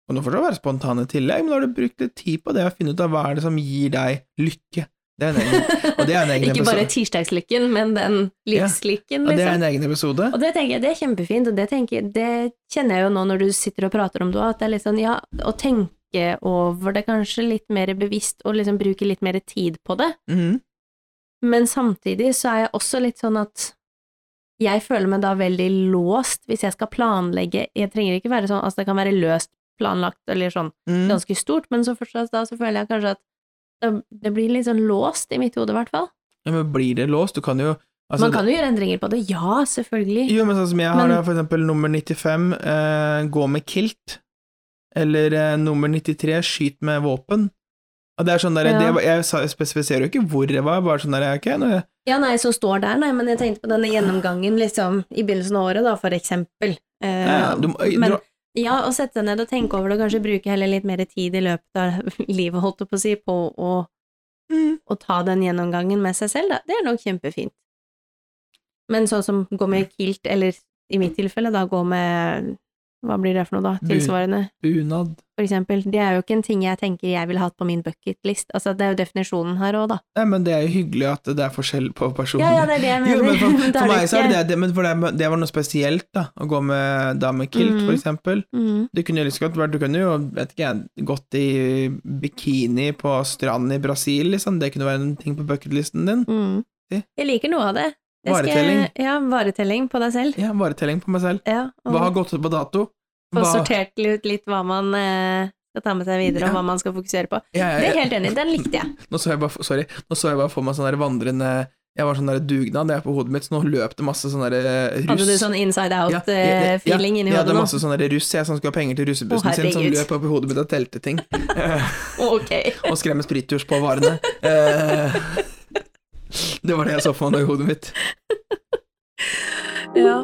B: og nå får du være spontan i tillegg, men da har du brukt litt tid på det og funnet ut av hva er det som gir deg lykke. Det er en egen, og det er en egen
A: Ikke bare
B: episode.
A: tirsdagslykken, men den livslykken,
B: Og det er
A: liksom.
B: en egen episode.
A: Og det tenker jeg, det er kjempefint, og det, tenker, jeg- det kjenner jeg jo nå når du sitter og prater om det, også, at det er litt sånn, ja, å tenke over det kanskje litt mer bevisst, og liksom bruke litt mer tid på det.
B: Mhm.
A: Men samtidig så er jeg også litt sånn at jeg føler meg da veldig låst hvis jeg skal planlegge, jeg trenger ikke være sånn, altså det kan være løst planlagt, eller sånn
B: Mhm.
A: ganske stort, men så fortsatt da så føler jeg kanskje at det, det blir litt sånn låst i mitt hode i hvert fall.
B: Ja, men blir det låst? Du kan jo altså,
A: Man kan jo gjøre endringer på det, ja, selvfølgelig.
B: Jo, men sånn som jeg har
A: Men-
B: da, for eksempel nummer 95, eh, gå med kilt. Eller eh, nummer 93, skyt med våpen. Og det er sånn der,
A: Ja.
B: det, var- jeg sa- spesifiserer jo ikke hvor det var, bare sånn der, ok, nå, er jeg-
A: Ja, nei, som står der, nei, men jeg tenkte på denne gjennomgangen liksom, i begynnelsen av året, da, for eksempel. Eh,
B: ja, ja, du, må- øy,
A: men
B: dra-
A: ja, å sette seg ned og tenke over det, og kanskje bruke heller litt mer tid i løpet av livet, holdt jeg på å si, på å,
B: mm,
A: å ta den gjennomgangen med seg selv, da. det er nok kjempefint. Men sånn som gå med kilt, eller i mitt tilfelle da, gå med, hva blir det for noe da,
B: Bu-
A: tilsvarende?
B: bunad.
A: for eksempel. Det er jo ikke en ting jeg tenker jeg ville hatt på min bucketlist. Altså, det er jo definisjonen her òg, da.
B: Nei, men det er jo hyggelig at det er forskjell på personer.
A: Ja, ja, det er det jeg
B: Jo,
A: mener.
B: men for,
A: Da
B: for
A: er
B: meg så er det
A: ikke-
B: det, men for det, det var noe spesielt, da, å gå med damekilt,
A: Mhm.
B: for eksempel.
A: Mhm.
B: Du kunne jo liksom godt vært, du kunne jo, vet ikke jeg, gått i bikini på stranden i Brasil, liksom. Det kunne være en ting på bucketlisten din.
A: Mhm.
B: Si.
A: Jeg liker noe av det. Jeg skal-
B: Varetelling.
A: Ja, varetelling på deg selv.
B: Ja, varetelling på meg selv.
A: Ja, og
B: Hva har gått ut på dato?
A: få
B: Hva-
A: sortert ut litt hva man eh, skal ta med seg videre, og
B: Ja. Eh,
A: hva man skal fokusere på.
B: Jeg- jeg-
A: Det er jeg helt enig i. Den likte jeg.
B: Nå så jeg bare, sorry, nå så jeg bare for meg sånn der vandrende Jeg var sånn der dugnad, det er på hodet mitt, så nå løp det masse sånn der eh, russ.
A: Hadde du sånn inside out-feeling inni
B: Jeg
A: hodet
B: hadde
A: nå?
B: masse sånne der russ, jeg som skulle ha penger til russebussen
A: Å,
B: sin, som
A: herregud.
B: løp opp i hodet mitt og telte ting.
A: Ok.
B: og skremme spritturs på varene. Eh, det var det jeg så for meg nå i hodet mitt.
A: Ja.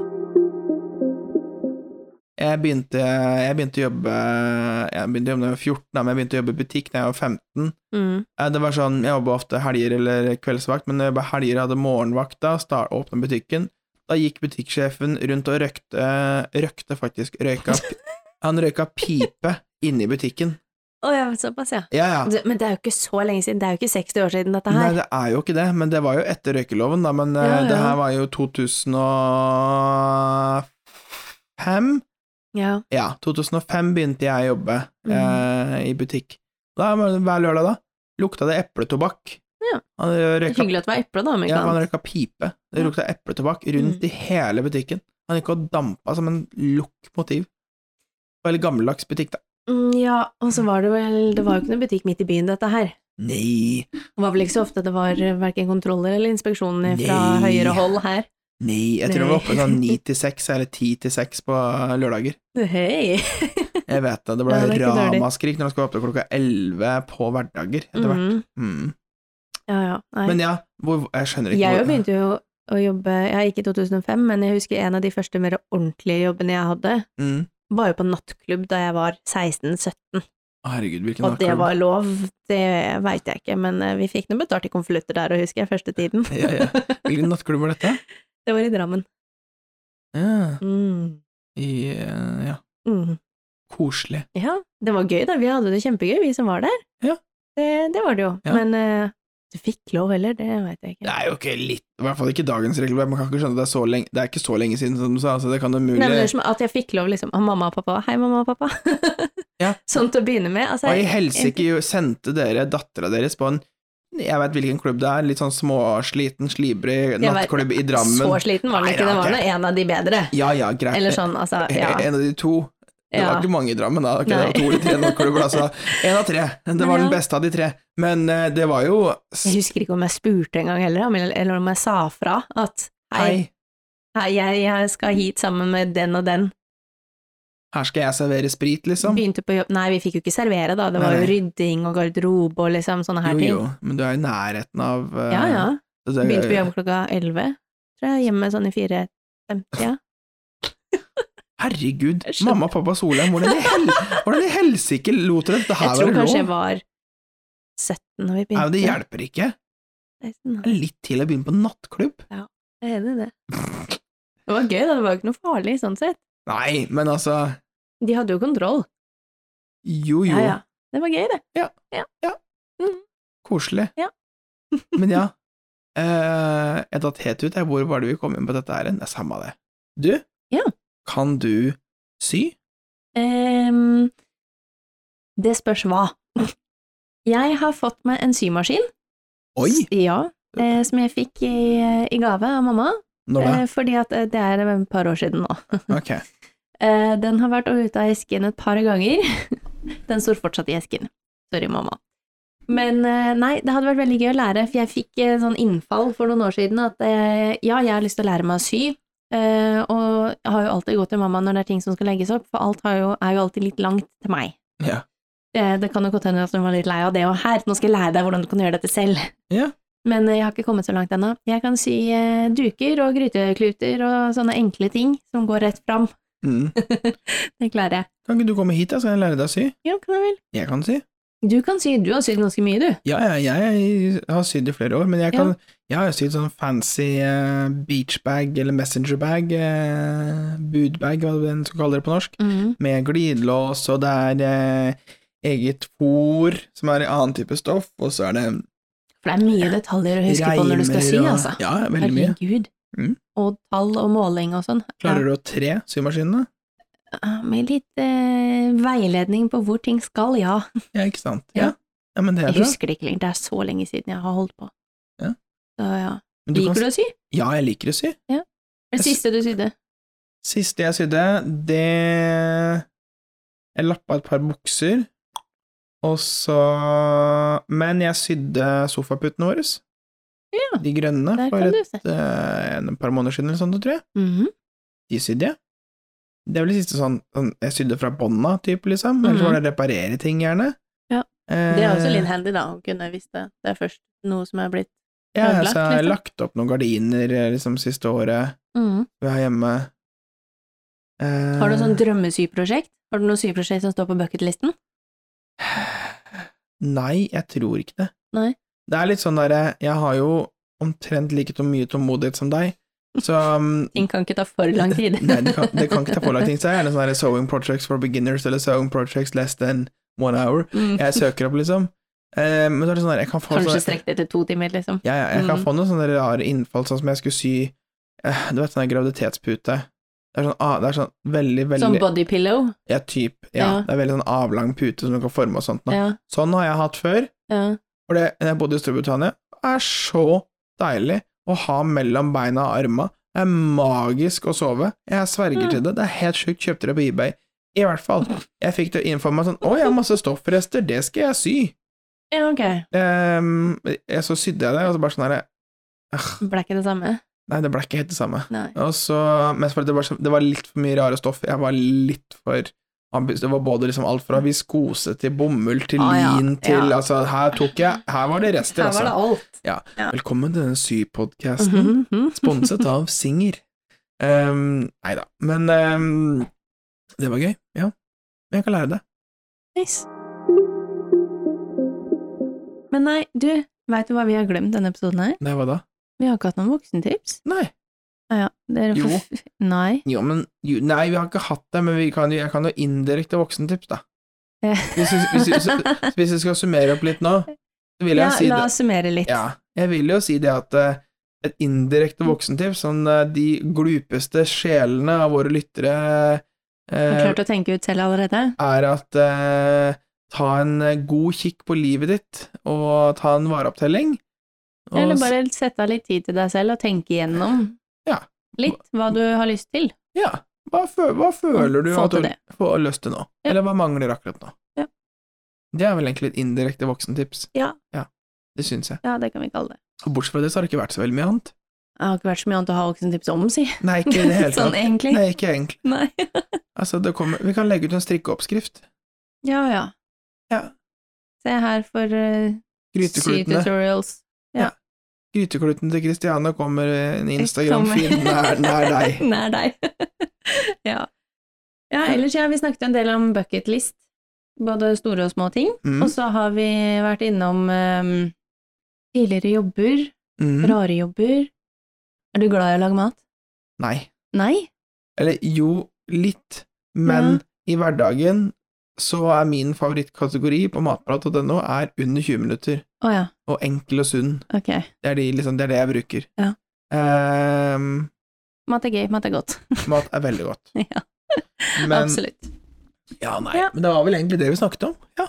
B: Jeg begynte, jeg begynte å jobbe Jeg begynte å jobbe da jeg var 14, da, men jeg begynte å jobbe i butikk da jeg var 15.
A: Mm.
B: Eh, Det var sånn, Jeg jobba ofte helger eller kveldsvakt, men når jeg jobba helger hadde morgenvakt da, start, åpna butikken. Da gikk butikksjefen rundt og røkte, røkte faktisk, røyka, han røyka pipe inne i butikken.
A: Å ja, såpass, ja.
B: Ja, ja.
A: Du, men det er jo ikke så lenge siden. Det er jo ikke 60 år siden, dette
B: Nei,
A: her.
B: det er jo ikke det, men det var jo etter røykeloven, da. Men eh,
A: Ja, ja.
B: det her var jo 2005.
A: Ja.
B: Ja, 2005 begynte jeg å jobbe
A: Mm.
B: eh, i butikk. Da, men hver lørdag, da, lukta det epletobakk.
A: Ja.
B: Han røyka,
A: Hyggelig at det var eple, da, om ikke
B: ja, han
A: annet.
B: røyka pipe.
A: Ja. Mm.
B: Det lukta epletobakk rundt i hele butikken. Han gikk og dampa som en lokomotiv. Veldig gammeldags butikk, da.
A: Mm, Ja, og så var det vel Det var jo ikke noen butikk midt i byen, dette her.
B: Nei,
A: Det var vel ikke så ofte det var eh, verken kontroller eller inspeksjoner fra
B: Nei.
A: høyere hold her.
B: nei, jeg tror han
A: Nei.
B: var oppe sånn ni til seks eller ti til seks på lørdager.
A: Hei!
B: Jeg vet det. Det ble
A: Ja, det er ikke dårlig.
B: ramaskrik når han skulle åpne klokka elleve på hverdager etter hvert.
A: Mhm.
B: Mm.
A: Ja, ja. Nei.
B: Men ja, hvor, jeg skjønner ikke
A: Jeg jo
B: hvor
A: begynte jo å jobbe ja, Ikke i 2005, men jeg husker en av de første mer ordentlige jobbene jeg hadde,
B: mm.
A: var jo på nattklubb da jeg var 16-17,
B: Å, Herregud, hvilken
A: og det
B: nattklubb.
A: var lov. Det veit jeg ikke, men eh, vi fikk nå betalt i konvolutter der, og husker jeg, første tiden.
B: ja, ja. Hvilken nattklubb var dette?
A: Det var i Drammen.
B: Ja.
A: Mm.
B: I, eh, ja.
A: Mm.
B: Koselig.
A: Ja, det var gøy, da. Vi hadde det kjempegøy, vi som var der.
B: Ja.
A: Det, det var det jo.
B: Ja.
A: Men eh, du fikk lov heller, det veit jeg
B: Det
A: ikke.
B: er jo ikke litt I hvert fall ikke dagens regelverk. Man kan ikke skjønne at det er så lenge Det er ikke så lenge siden, som du sa. Altså, det kan umulig
A: Nei, men det er som at jeg fikk lov liksom, av mamma og pappa. Hei, mamma og pappa.
B: Ja.
A: Sånn til å begynne med. Altså,
B: Hva i helsike jo- sendte dere dattera deres på en jeg veit hvilken klubb det er, litt sånn småsliten, slibrig
A: Jeg vet-
B: nattklubb i Drammen.
A: Så sliten var den
B: Nei,
A: ikke,
B: det
A: det
B: var
A: var nå
B: ikke.
A: en av de bedre.
B: Ja ja, greit. E-
A: Eller sånn, altså, ja.
B: En av de to. Det
A: ja.
B: var ikke mange i Drammen, da. Ok, det var
A: Nei.
B: to eller tre norskklubber, altså. Én av tre. Det
A: Ja.
B: var den beste av de tre. Men eh, det var jo s-
A: Jeg husker ikke om jeg spurte engang heller, om- eller om jeg sa fra at hei,
B: Hei,
A: hei jeg, jeg skal hit sammen med den og den.
B: her skal jeg servere sprit, liksom.
A: Begynte på jobb Nei, vi fikk jo ikke servere, da. Det var
B: Nei,
A: jo
B: nei.
A: rydding og garderobe og liksom sånne her
B: Jo,
A: ting.
B: jo, men du er i nærheten av eh,
A: Ja, ja.
B: det- det-
A: Begynte på jobb klokka elleve, tror jeg. Hjemme sånn i fire-femtida.
B: Herregud,
A: Jeg skjønner.
B: mamma og pappa Solheim, hvordan i hel- hvordan i helsike lot dere dette her
A: Jeg tror
B: være
A: kanskje jeg
B: lov?
A: var 17 når vi
B: Nei,
A: begynte.
B: men det hjelper ikke. Det
A: 16,
B: er litt til å begynne på nattklubb.
A: Jeg er enig i det. Det var gøy, da. Det var jo ikke noe farlig sånn sett.
B: Nei, men altså
A: De hadde jo kontroll.
B: Jo, jo.
A: Ja, ja. Det var gøy, det.
B: Koselig.
A: Ja.
B: Men ja, eh, jeg datt helt ut. jeg. Hvor var det vi kom inn på dette her? hen? Det er samme det. Du,
A: Ja.
B: kan du sy?
A: Ehm, det spørs hva. Jeg har fått meg en symaskin.
B: Oi!
A: S- Ja, eh, som jeg fikk i, i gave av mamma.
B: Når da?
A: Eh, fordi at eh, det er et par år siden nå.
B: Ok.
A: Eh, den har vært ute av esken et par ganger. Den står fortsatt i esken. Sorry, mamma. Men eh, nei, det hadde vært veldig gøy å lære, for jeg fikk eh, sånn innfall for noen år siden at eh, ja, jeg har lyst til å lære meg å sy, eh, og jeg har jo alltid gått til mamma når det er ting som skal legges opp, for alt har jo, er jo alltid litt langt til meg.
B: Ja.
A: Eh, det kan jo godt hende at hun var litt lei av det, og her, nå skal jeg lære deg hvordan du kan gjøre dette selv.
B: Ja.
A: Men eh, jeg har ikke kommet så langt ennå. Jeg kan sy eh, duker og grytekluter og sånne enkle ting som går rett fram.
B: Mm.
A: Det klarer jeg.
B: Kan ikke du komme hit, da, så kan jeg lære deg å sy?
A: Ja, kan jeg vel.
B: Jeg kan sy.
A: Du kan sy, du har sydd ganske mye, du.
B: Ja, ja, jeg har sydd i flere år, men jeg kan, Jeg har jo sydd sånn fancy eh, beachbag eller messengerbag, eh, budbag, hva den skal kalle det på norsk,
A: Mm.
B: med glidelås, og det er eh, eget fôr, som er i annen type stoff, og så er det
A: For det er mye detaljer å huske på når du skal sy,
B: og-
A: altså.
B: Ja, veldig mye.
A: Herregud.
B: Mm.
A: Og tall og måling og sånn.
B: Klarer du å tre symaskinene?
A: Ja, med litt eh, veiledning på hvor ting skal, ja.
B: Ja, ikke sant?
A: Ja.
B: Ja, ja men det er
A: Jeg
B: bra.
A: husker det ikke lenger, det er så lenge siden jeg har holdt på.
B: Ja.
A: Så ja.
B: Men
A: Liker
B: kan-
A: du å sy?
B: Ja, jeg liker å sy.
A: Det
B: Jeg sy-
A: siste du sydde?
B: Siste jeg sydde, det Jeg lappa et par bukser, og så Men jeg sydde sofaputene våre.
A: Ja,
B: De grønne.
A: der
B: For
A: kan
B: et,
A: du se.
B: eh, en par måneder siden, eller sånt, tror jeg.
A: Mhm.
B: De sydde jeg. Det er vel det siste sånn, sånn jeg sydde fra bånda, type, liksom. Eller så var det reparere ting,
A: Mhm.
B: gjerne.
A: Ja.
B: Eh,
A: Det er også litt handy, da, å kunne hvis det, det er først noe som er blitt
B: Ja,
A: ødelagt,
B: så jeg har
A: liksom.
B: lagt opp noen gardiner eh, liksom siste året
A: Mhm.
B: vi har hjemme. Eh,
A: Har du sånn drømmesyprosjekt? Har du noe syprosjekt som står på bucketlisten?
B: Nei, jeg tror ikke det.
A: Nei.
B: Det er litt sånn derre Jeg har jo omtrent like to- mye tålmodighet som deg, så um,
A: Ting kan ikke ta for lang tid.
B: Nei, det kan, det kan ikke ta for lang tid. Så jeg er gjerne sånn derre sewing projects for beginners eller sewing projects less than one hour.
A: Mm.
B: Jeg søker opp, liksom. Eh, men så er det sånn der, jeg kan få
A: Kanskje
B: sånn-
A: strekk det til to timer, liksom.
B: Ja, ja, jeg kan
A: Mm.
B: få noen sånne rare innfall, sånn som jeg skulle sy eh, Du vet sånn der graviditetspute. Det er sånn, ah, det er sånn veldig, veldig
A: Som body pillow.
B: Ja, typ. Ja,
A: Ja.
B: Det er veldig sånn avlang pute som du kan forme og sånt. nå.
A: Ja,
B: Sånn har jeg hatt før.
A: ja.
B: For det, når jeg bodde i Storbritannia, det er så deilig å ha mellom beina og arma. Det er magisk å sove. Jeg sverger
A: Mm.
B: til det. Det er helt sjukt. Kjøpte det på eBay. I hvert fall. Jeg fikk det inn for meg sånn Å, jeg har masse stoffrester. Det skal jeg sy.
A: ja ok.
B: Ehm, jeg, så sydde jeg det, og så bare sånn herre
A: Ble ikke det samme?
B: Nei, det ble ikke helt det samme.
A: Nei.
B: Og så, men fordi det, var, så- det var litt for mye rare stoff. Jeg var litt for ambis- det var både liksom alt fra viskose til bomull til
A: Ah, ja.
B: lin til
A: Ja.
B: Altså, her tok jeg Her var det rester, altså.
A: alt.
B: Velkommen til denne sypodkasten,
A: Mhm,
B: sponset av Singer. Um, nei da, men ehm, det var gøy. Ja, men jeg kan lære det.
A: Nice. Men nei, du, veit du hva vi har glemt denne episoden her?
B: Nei, hva da?
A: Vi har ikke hatt noen voksentips. Ah,
B: Nei.
A: Ja, ja. Dere
B: Jo.
A: får... f- Nei.
B: Jo, men, jo, nei, vi har ikke hatt det, men vi kan, jo- jeg kan jo indirekte voksentips, da.
A: Eh.
B: Hvis vi, hvis, vi- hvis vi skal summere opp litt nå, så vil jeg
A: Ja,
B: si
A: la
B: det.
A: oss summere litt.
B: Ja, jeg vil jo si det at eh, et indirekte voksentips, sånn eh, de glupeste sjelene av våre lyttere
A: Har
B: eh,
A: klart å tenke ut selv allerede?
B: er at eh, ta en eh, god kikk på livet ditt, og ta en vareopptelling. Og
A: Eller
B: s-
A: bare sette av litt tid til deg selv og tenke igjennom
B: Ja.
A: litt hva du har lyst til.
B: Ja, hva, fø hva føler du
A: Få
B: at
A: til
B: du
A: det.
B: får lyst til nå?
A: Ja.
B: Eller hva mangler akkurat nå?
A: Ja.
B: Det er vel egentlig et indirekte voksentips.
A: Ja.
B: Det syns jeg.
A: Ja, det kan vi kalle det.
B: Og bortsett fra det så har det ikke vært så veldig mye annet.
A: Jeg har ikke vært så mye annet å ha voksentips om, si.
B: Nei, ikke i det hele
A: sånn
B: tatt.
A: egentlig.
B: Nei, ikke egentlig.
A: Nei.
B: Altså, det kommer, vi kan legge ut en strikkeoppskrift.
A: Ja, ja.
B: Ja.
A: Se her for uh,
B: Gryteklutene.
A: tutorials.
B: Grytekluten til Kristiane kommer eh, en
A: Kommer.
B: Instagram-feed nær, nær deg.
A: Nær deg. ja. ja, ellers ja, vi snakket jo en del om bucketlist. Både store og små ting.
B: Mm,
A: Og så har vi vært innom eh, tidligere jobber,
B: mm.
A: rare jobber. Er du glad i å lage mat?
B: Nei.
A: Nei?
B: Eller jo, litt. Men i hverdagen så er min favorittkategori på matprat.no er under 20 minutter.
A: Å ja,
B: Og enkel og sunn.
A: ok.
B: Det er, de, liksom, det, er det jeg bruker.
A: Ja.
B: Ehm,
A: Mat er gøy, mat er godt.
B: mat er veldig godt.
A: Ja.
B: Men,
A: Absolutt.
B: ja, nei,
A: Ja.
B: men det var vel egentlig det vi snakket om. Ja.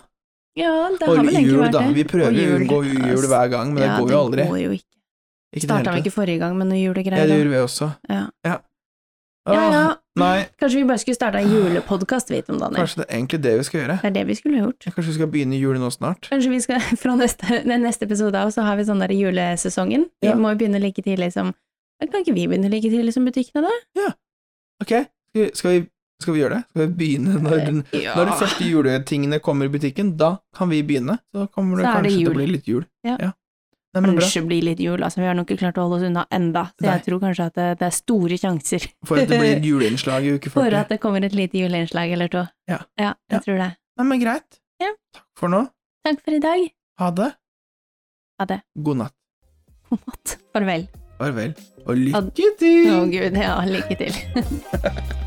A: Ja, det har
B: Og
A: vel egentlig
B: jul,
A: vært
B: da.
A: det.
B: Vi prøver
A: Og
B: jo å
A: jul.
B: unngå jul hver gang, men
A: Ja,
B: det går jo aldri.
A: Det går jo ikke.
B: Ikke i det
A: Starta
B: hele
A: vi
B: tatt.
A: ikke forrige gang med noen
B: Ja,
A: julegreier?
B: det
A: da?
B: gjorde vi også.
A: Ja.
B: Ja.
A: Ja,
B: Åh,
A: ja.
B: Nei,
A: Kanskje vi bare skulle starta en julepodkast, vi, Tom Daniel.
B: kanskje det er egentlig det vi skal gjøre.
A: Det er det vi skulle gjort.
B: Kanskje vi skal begynne jul nå snart?
A: Kanskje vi skal, fra neste, den neste episode av, så har vi sånn der julesesongen. Vi
B: Ja.
A: må jo begynne like tidlig som Kan ikke vi begynne like tidlig som butikkene, da?
B: Ok, skal vi, skal vi, skal vi gjøre det? Skal vi begynne når, den,
A: Eh, Ja.
B: når de første juletingene kommer i butikken? Da kan vi begynne. Så kommer det
A: Så er det
B: kanskje til
A: jul.
B: å bli litt jul.
A: Ja.
B: Nei, men bra.
A: Kanskje blir litt jul, altså. Vi har nok ikke klart å holde oss unna enda, så
B: Nei.
A: jeg tror kanskje at det, det er store sjanser
B: For at det blir et juleinslag i uke
A: for
B: 40.
A: at det kommer et lite juleinnslag eller to.
B: Ja.
A: jeg
B: Ja.
A: tror det.
B: Nei, men greit.
A: Ja.
B: Takk for nå.
A: Takk for i dag.
B: Ha det.
A: Ha det.
B: God natt.
A: God natt. Farvel.
B: Farvel, og
A: Ad-
B: lykke til!
A: Å gud, ja, lykke til.